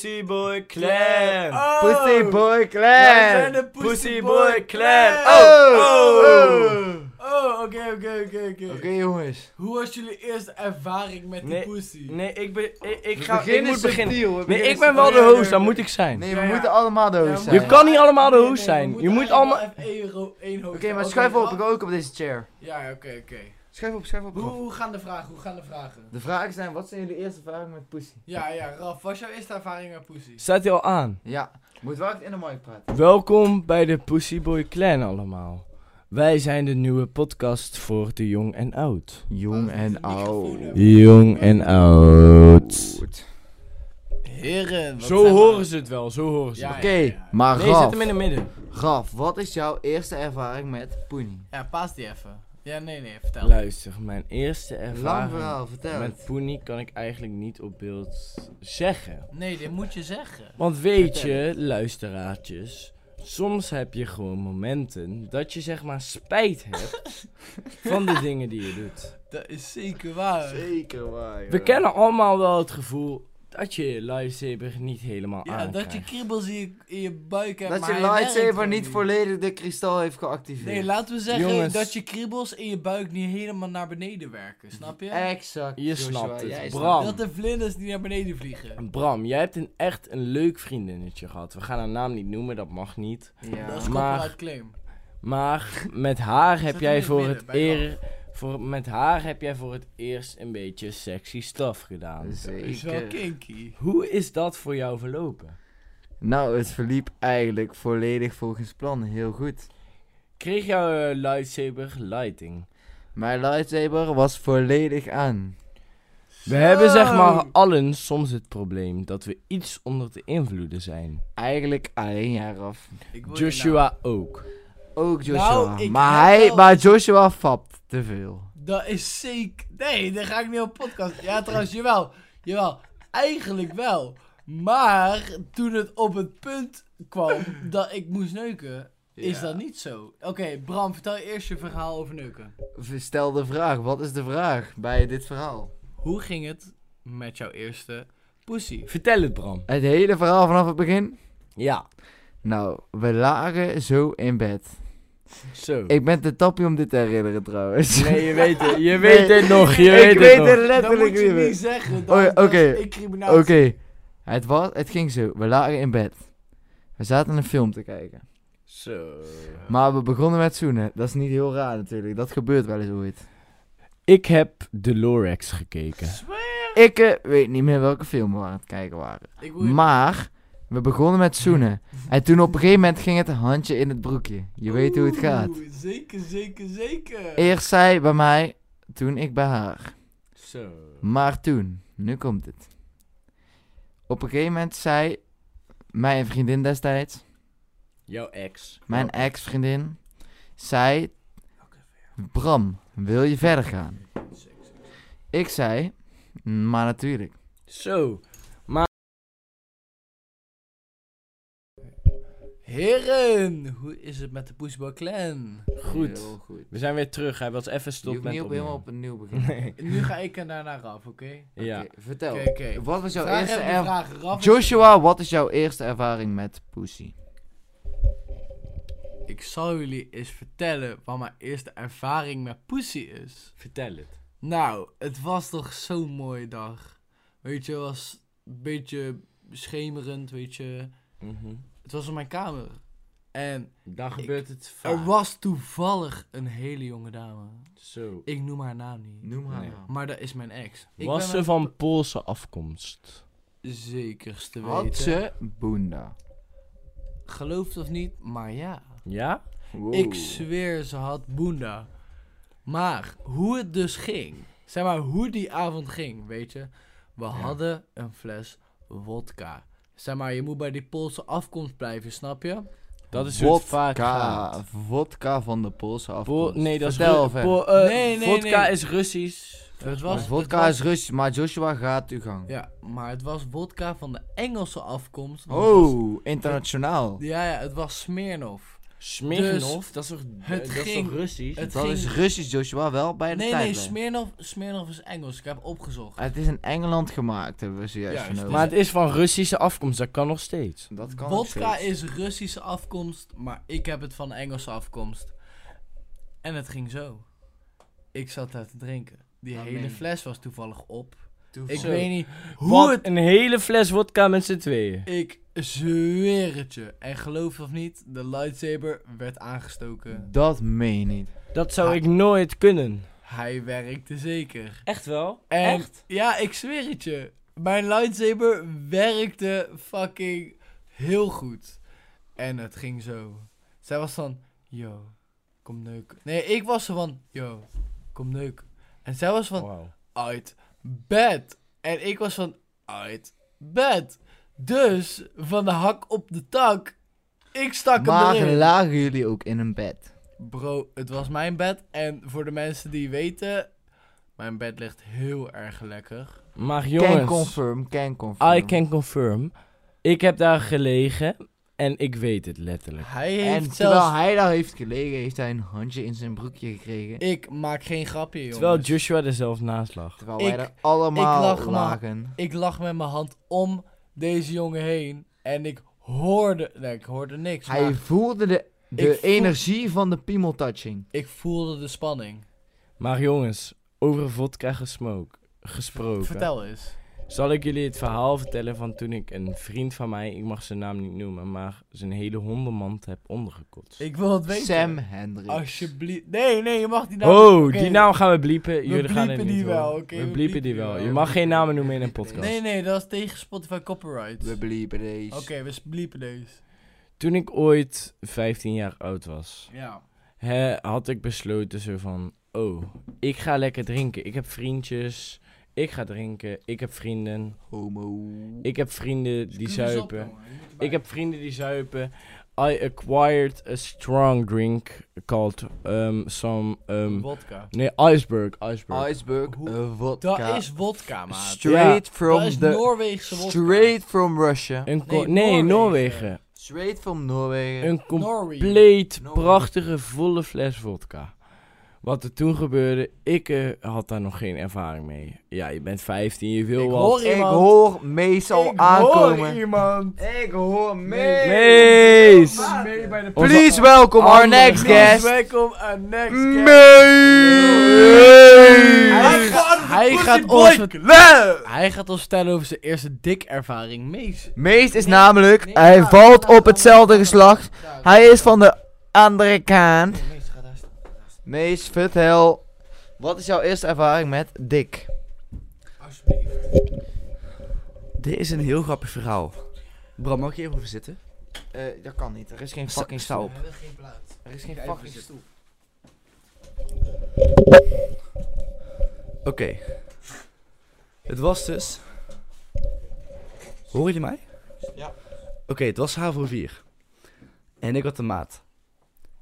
Pussyboy Clan. Ah. Oh, Pussy Boy Wij zijn Clan. de Pussyboy Clan. Oh, Oh. Oh, oké, oké, oké, oké. Oké jongens. Hoe was jullie eerste ervaring met Nee, die pussy? Nee, ik, ben, ik, ik We ga. Ik beginnen moet beginnen. subtiel, we Nee, beginnen ik ben wel subtiel. de host, dat moet ik zijn. Nee, we Ja, ja. moeten allemaal de Ja, host we zijn. Je kan niet allemaal de Nee, nee, host we zijn. moeten Je moet eigenlijk allemaal- wel even één ro- één hoofd Oké, zijn. maar schuif Oké, op, ik ja. wil ook op deze chair. Ja, oké, oké. Schuif op, schuif op. Hoe, Ralf. hoe gaan de vragen? Hoe gaan de vragen? De vragen zijn, wat zijn jullie eerste ervaringen met pussy? Ja, ja, Raf, wat is jouw eerste ervaring met pussy? Staat hij al aan? Ja, moet wel echt in de mic praten. Welkom bij de Pussyboy Clan allemaal. Wij zijn de nieuwe podcast voor de jong en oud. Jong en Microfoon hebben. oud. Jong en oud. Goed. Heren, Zo horen ze het wel, zo horen ze Ja, het. Oké, ja, ja. maar Nee, zet hem in Raf, het midden. Raf, wat is jouw eerste ervaring met Poenie? Ja, paas die even. Ja, nee, nee, vertel. Luister, mijn eerste Lang ervaring verhaal, vertel met het. Poenie kan ik eigenlijk niet op beeld zeggen. Nee, dit moet je zeggen. Want weet je, luisteraartjes, soms heb je gewoon momenten dat je zeg maar spijt hebt van de dingen die je doet. Dat is zeker waar. Zeker waar, joh. We kennen allemaal wel het gevoel dat je je lightsaber niet helemaal Ja, dat je kriebels in je, in je buik hebt, Dat maar je hij werkt lightsaber gewoon niet volledig de kristal heeft geactiveerd. Nee, laten we zeggen Jongens. dat je kriebels in je buik niet helemaal naar beneden werken, snap je? Exact. Je Joshua, snapt het. jij Bram. Dat de vlinders niet naar beneden vliegen. Bram, jij hebt een echt een leuk vriendinnetje gehad. We gaan haar naam niet noemen, dat mag niet. snapt het. Ja. Dat is Maar- copyright claim. Maar met haar heb Zet hem in jij het voor midden, het bij Ralf. eer, voor, met haar heb jij voor het eerst een beetje sexy stuff gedaan. Dat is wel Zeker. kinky. Hoe is dat voor jou verlopen? Nou, het verliep eigenlijk volledig volgens plan. Heel goed. Kreeg jouw eh, lightsaber lighting? Mijn lightsaber was volledig aan. We hebben zeg maar Zo. allen soms het probleem dat we iets onder de invloeden zijn. Eigenlijk alleen jaar af. Ik wil je Joshua ook. Nou, Ook Joshua. ik maar, heb hij, wel- maar Joshua fapt te nou- veel. Dat is zeker... Nee, daar ga ik niet op podcast. Ja, trouwens, jawel. Jawel. Eigenlijk wel. Maar toen het op het punt kwam dat ik moest neuken, is dat niet zo. Oké, Bram, vertel eerst je verhaal over neuken. Stel de vraag, wat is de vraag bij dit verhaal? Hoe ging het met jouw eerste pussy? Vertel het Bram. Het hele verhaal vanaf het begin? Ja, Nou, we lagen zo in bed. zo. Ik ben te tappie om dit te herinneren trouwens. Nee, je weet het, je weet weet het het nog, je weet ik het weet nog. het Dat letterlijk moet je niet meer. niet zeggen. Oh ja, dat- dat oké. is Ik criminaal. Oké, het, was, het ging zo. We lagen in bed. We zaten een film te kijken. Zo. Maar we begonnen met zoenen. Dat is niet heel raar natuurlijk. Dat gebeurt wel eens ooit. Ik heb de Lorax gekeken. Ik eh, weet niet meer welke film we aan het kijken waren. Ik wil je- Maar we begonnen met zoenen. En toen op een gegeven moment ging het handje in het broekje. Je weet hoe het Oeh, gaat. E- Zeker, zeker, zeker. Eerst zij bij mij, toen ik bij haar. Zo. Maar toen, nu komt het. Op een gegeven moment zei mijn vriendin destijds, Jouw ex. mijn ex-vriendin, zei: Bram, wil je verder gaan? Ik zei: Maar natuurlijk. Zo. Heren, hoe is het met de Pushboy Clan? Goed. Heel goed. We zijn weer terug, hij was even Je stop hoeft met niet op opnieuw. helemaal opnieuw beginnen. Nee. Nu ga ik en daarna af, oké? Ja. Oké, vertel. Oké, oké. Wat was jouw Vraag eerste hebben de ervaring? vragen, Raf. Joshua, wat is jouw eerste ervaring met Pussy? Ik zal jullie eens vertellen wat mijn eerste ervaring met Pussy is. Vertel het. Nou, het was toch zo'n mooie dag. Weet je, het was een beetje schemerend, weet je. Mhm. Het was op mijn kamer. En Dan Ik- gebeurt Oh, het er vaak. was toevallig een hele jonge dame. Zo. Ik noem haar naam niet. Noem haar Nee. nou. Maar dat is mijn ex. Ik Was ben ze met- van Poolse afkomst? Zekerste weten. Had ze Boenda? Geloof het of niet, maar ja. Ja? Ik zweer, ze had boenda. Maar hoe het dus ging, zeg maar hoe die avond ging, weet je. We hadden een fles wodka. Zeg maar, je moet bij die Poolse afkomst blijven, snap je? Dat is hoe het vaak Wodka, gaat. vodka van de Poolse Po- afkomst. nee, dat is Vertel Ru- verder. po- eh, Nee, nee, Vodka nee. is Russisch. Het was, vodka het was- is rustig, maar Joshua gaat uw gang. Ja, maar het was wodka van de Engelse afkomst. want het was- Oh, internationaal. Ja, ja, het was Smirnoff. Smirnov, Dus dat is toch, het dat is ging- toch Russisch? het- Dat ging- is Russisch, Joshua, wel bij de Nee, nee, tijdlijn. Smirnoff, Smirnoff is Engels. Ik heb opgezocht. Het is in Engeland gemaakt, hebben we zojuist Juist. vernomen. maar het is van Russische afkomst, dus dat kan nog steeds. dat kan nog Vodka steeds. is Russische afkomst, maar ik heb het van Engelse afkomst. En het ging zo. Ik zat daar te drinken. Die Amen. hele fles was toevallig op. Ik Zo. weet niet hoe Wat het... een hele fles wodka met z'n tweeën. Ik zweer het je. En geloof het of niet, de lightsaber werd aangestoken. Dat meen je niet. Dat zou Ah. ik nooit kunnen. Hij werkte zeker. Echt wel? En- Ja, ik zweer het je. Mijn lightsaber werkte fucking heel goed. En het ging zo. Zij was van, yo, kom neuken. Nee, ik was zo van, yo, kom neuken. En zij was van, Wauw. uit bed. En ik was van, uit bed. Dus, van de hak op de tak, ik stak hem Maar erin. lagen jullie ook in een bed? Bro, het was mijn bed. En voor de mensen die weten, mijn bed ligt heel erg lekker. Maar Can jongens, confirm, can Ah, confirm. I can confirm. Ik heb daar gelegen en ik weet het letterlijk. Hij En heeft terwijl zelfs... hij daar heeft gelegen, heeft hij een handje in zijn broekje gekregen. Ik maak geen grapje, jongens. Terwijl Joshua er zelf naast lag. Terwijl Ik- wij er allemaal ik lag maar- lagen. Ik lag met mijn hand om deze jongen heen. En ik hoorde... Nee, ik hoorde niks. Hij maar voelde de, de Ik voel- energie van de piemeltouching. ik voelde de spanning. Maar jongens, over vodka gesmoke, gesproken. Vertel eens. Zal ik jullie het verhaal vertellen van toen ik een vriend van mij, ik mag zijn naam niet noemen, maar zijn hele hondenmand heb ondergekotst. Ik wil het weten. Sam Hendricks. Alsjeblieft. Nee, nee, je mag die naam oh, Nou, Oké. die naam gaan we bliepen. Jullie gaan het bliepen niet die horen. wel, oké, we we bliepen die wel. Je mag geen namen noemen in een podcast. Nee, nee, dat is tegen Spotify copyright. We bliepen deze. Oké, we bliepen deze. Toen ik ooit 15 jaar oud was, Ja. hè, had ik besloten zo van... Oh, ik ga lekker drinken. Ik heb vriendjes. Ik ga drinken. Ik heb vrienden. Homo. Ik heb vrienden die Screw eens op, zuipen. jongen. Je moet erbij. Ik heb vrienden die zuipen. I acquired a strong drink called um, some... um, Wodka. nee, iceberg. Iceberg. Iceberg Hoe- eh, Dat vodka. is wodka, maat. Straight Dat from is the... Noorweegse wodka. Straight from Russia. Een Nee, co- nee, Noorwegen. Noorwegen. Straight from Noorwegen. Een com- Norway. compleet Noor. prachtige volle fles vodka. Wat er toen gebeurde, ik eh, had daar nog geen ervaring mee. Ja, je bent 15, je wil Ik wat. hoor Ik iemand. hoor meestal Ik aankomen. hoor iemand. Ik hoor Mees. Mees. Mee Ah, bij de Onze- Please welcome our Andere next Please guest. welcome our next guest. Hij Mees. gaat, hij, gaat ons, vert- hij gaat ons vertellen over zijn eerste dikervaring. Mees. Mees is namelijk, hij valt op hetzelfde geslacht. Hij is van de andere kant. Mees gaat daar staan. Mees, vertel. Wat is jouw eerste ervaring met Dick? Alsjeblieft. Dit is een heel grappig verhaal. Bram, mag ik hier even over zitten? Eh, dat kan niet, er is geen fucking stoel op. We hebben geen plaats. Er is geen Ga even fucking zitten. stoel. Oké. Het was dus... Hoor je mij? Ja. Oké, het was HAVO 4. En ik had een maat.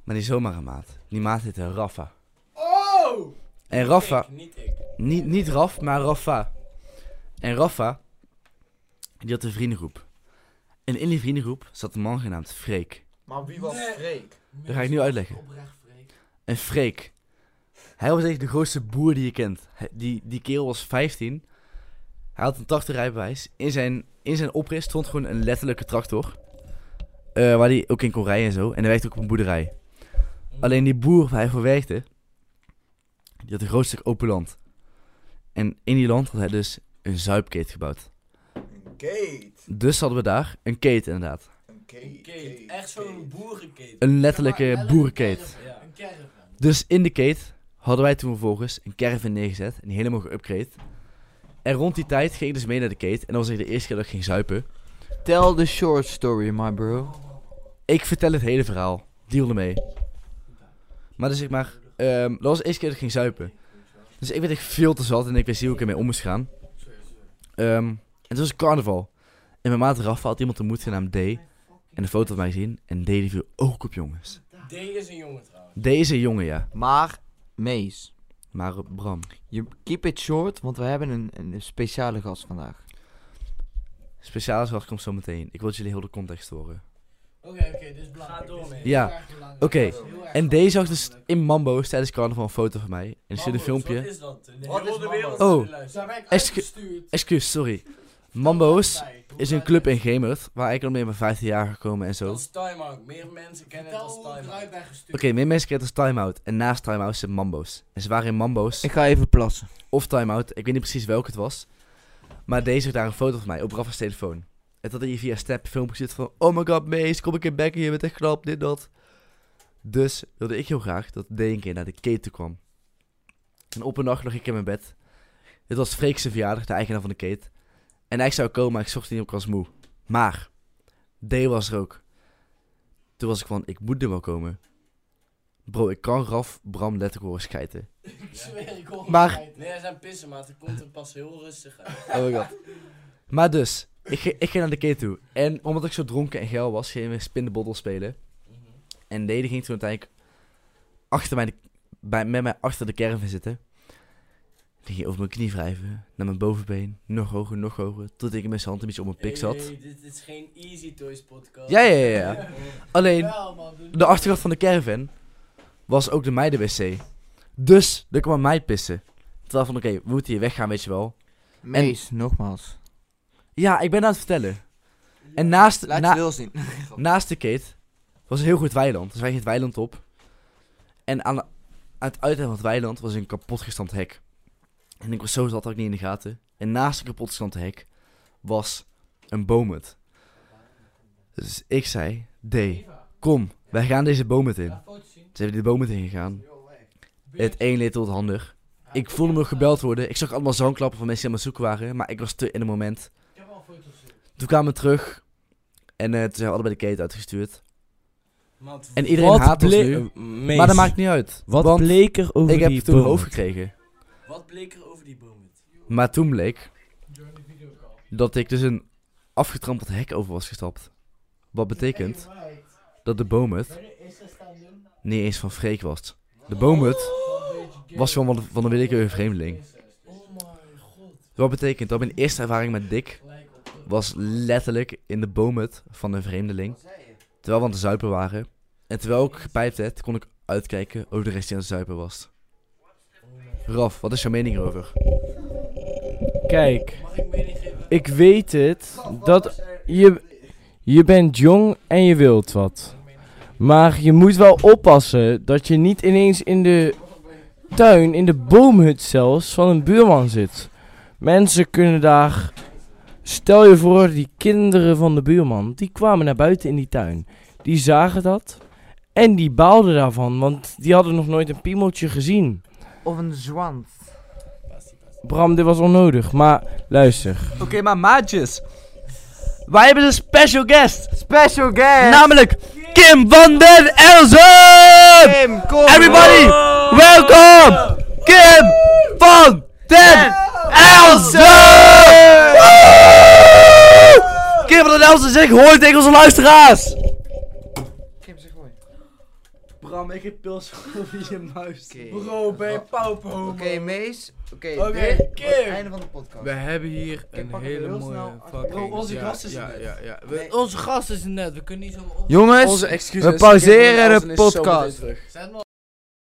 Maar niet zomaar een maat. Die maat heette Rafa. Oh! En Rafa... Niet ik. Niet, niet Raf, maar Rafa. En Rafa, die had een vriendengroep. En in die vriendengroep zat een man genaamd Freek. Maar wie was Freek? Dat ga ik nu uitleggen. Oprecht, Freek. En Freek. Hij was echt de grootste boer die je kent. Hij- Die, die kerel was 15. Hij had een tractorrijbewijs. In zijn, in zijn oprit stond gewoon een letterlijke tractor. Eh, waar hij ook in kon rijden en zo. En hij werkte ook op een boerderij. Alleen die boer waar hij voor werkte, die had een groot stuk open land. En in die land had hij dus een zuipkeet gebouwd. Een gate. Dus hadden we daar een keet inderdaad. Een boerenkeet. Een letterlijke boerenkeet. Ja. Dus in de keet hadden wij toen vervolgens een caravan neergezet. En die helemaal geupgrade. En rond die tijd ging ik dus mee naar de keet. En dat was echt de eerste keer dat ik ging zuipen. Tell the short story, my bro. Ik vertel het hele verhaal. Deal ermee. Maar dus zeg maar... ehm, dat was de eerste keer dat ik ging zuipen. Dus ik werd echt veel te zat. En ik wist niet hoe ik ermee om moest gaan. Ehm, en het was een carnaval. En mijn maat Rafa had iemand ontmoet genaamd D. En de foto had mij gezien. En D die viel ook op jongens. D is een jongen trouwens. D is een jongen, ja. Maar, Mees. Maar eh, Bram. Je keep it short, want we hebben een, een speciale gast vandaag. Speciale zorg komt zo meteen. Ik wil dat jullie heel de context horen. Oké, oké, dit is belangrijk. Ga door, Dit is man. heel Ja, erg belangrijk. oké. Dit is heel erg En deze zag belangrijk. dus in Mambo's tijdens carnaval een foto van mij. En er zit een Wat filmpje. is dat? De Wat hele is wereld Mambo? zit te Dus luisteren. daar ben ik Excu- uitgestuurd. Excuus, sorry. Mambo's Bij. Hoe is een gaat club het? in Gemert waar ik al mee mijn 15 jaar gekomen en zo. Dat Oké, is Time Out. Meer mensen kennen het Vertel als hoe ik Time Out. eruit ben gestuurd. meer mensen kennen het als Time Out. En naast Time Out zit Mambo's. En ze waren in Mambo's Ik ga even plassen. of Time Out. Ik weet niet precies welke het was. Maar deze zag daar een foto van mij op Rafa's telefoon. En dat hij via Snap filmpjes zit van... Oh my god, Mees, kom ik in bekken, je bent echt knap, dit, dat. Dus wilde ik heel graag dat D een keer naar de keten kwam. En op een nacht lag ik in mijn bed. Het was Freek's verjaardag, de eigenaar van de keet. En hij zou komen, maar ik zocht niet op, ik was moe. Maar, D was er ook. Toen was ik van, ik moet er wel komen. Bro, ik kan Raf Bram letterlijk horen schijten. Ik zweer, ik hoor Maar- het. Nee, er zijn pissen, maar het komt er pas heel rustig uit. Oh my god. Maar dus, ik, ge- ik ging naar de keer toe. En omdat ik zo dronken en geil was, gingen we spin de bottle spelen. Mhm. En Dede ging toen uiteindelijk achter mij de, bij, met mij achter de caravan zitten. Die ging over mijn knie wrijven, naar mijn bovenbeen, nog hoger, nog hoger, tot ik met zijn hand een beetje op mijn pik zat. Hey, dit is geen Easy Toys podcast. Ja, ja, ja, ja. Alleen, Wel, man, doe- de achterkant van de caravan was ook de meiden-wc. Dus, er kwam mij pissen. Terwijl van, oké, we moeten hier weggaan, weet je wel. Mees, nogmaals. Ja, ik ben aan het vertellen. En naast... Laat na- je wil zien. Naast de kate was een heel goed weiland. Dus wij gingen het weiland op. En aan, aan het uiteinde van het weiland was een kapotgestampt hek. En ik was zo zat dat ik niet in de gaten. En naast het kapotgestampte hek was een boomhut. Dus ik zei, D, kom, wij gaan deze boomhut in. Ze hebben die boomhut ingegaan. Het een leed tot het ander. Ik voelde me nog gebeld worden. Ik zag allemaal zangklappen van mensen die aan het zoeken waren. Maar ik was te in het moment. Ik heb al foto's gezien. Toen kwamen we terug. En eh, toen zijn we allebei de kate uitgestuurd. Want En iedereen wat haat ons ble- nu. Eh, Mees, Maar dat maakt niet uit. Wat want bleek er over ik heb die toen een boom? hoofd gekregen. Wat bleek er over die boom? Maar toen bleek dat ik dus een afgetrampeld hek over was gestapt. Wat betekent Alright. dat de boomhut Ben je eerst staan doen? niet eens van Freek was. De boomhut was gewoon van, van een willekeurige vreemdeling. Oh mijn god. Wat betekent dat mijn eerste ervaring met Dick Gelijk op de- was letterlijk in de boomhut van een vreemdeling. Terwijl we aan het zuipen waren. En terwijl ik gepijpt werd, kon ik uitkijken over de rest die aan het zuipen was. Raf, wat is jouw mening erover? Kijk, Mag ik mening geven? ik weet het. Dat je, je bent jong en je wilt wat. Maar je moet wel oppassen dat je niet ineens in de tuin, in de boomhut zelfs, van een buurman zit. Mensen kunnen daar. Stel je voor, die kinderen van de buurman, die kwamen naar buiten in die tuin. Die zagen dat en die baalden daarvan, want die hadden nog nooit een piemeltje gezien. Of een zwant. Bram, dit was onnodig, maar luister. Oké, maar maatjes. Wij hebben een special guest. Special guest! Namelijk Kim van den Elzen. Kim, kom! Everybody, welkom. Kim van den Elzen. Woe! Kim van den Elzen, zeg hoor tegen onze luisteraars. Kim, zeg mooi. Bram, ik heb pils over je muis. Bro, ben je pauper, homo? Oké, Mees. Oké, Oké, dit was het Kim. einde van de podcast. We hebben hier een pak hem hele heel mooie snel af. fucking... Bro, Oh, onze ja, gast is ja, er net. Ja, ja, we- Onze gast is er net, we kunnen niet zo op. Jongens, Onze excuses. we pauzeren Kim van de Elsen is zo meteen podcast. terug. Zet maar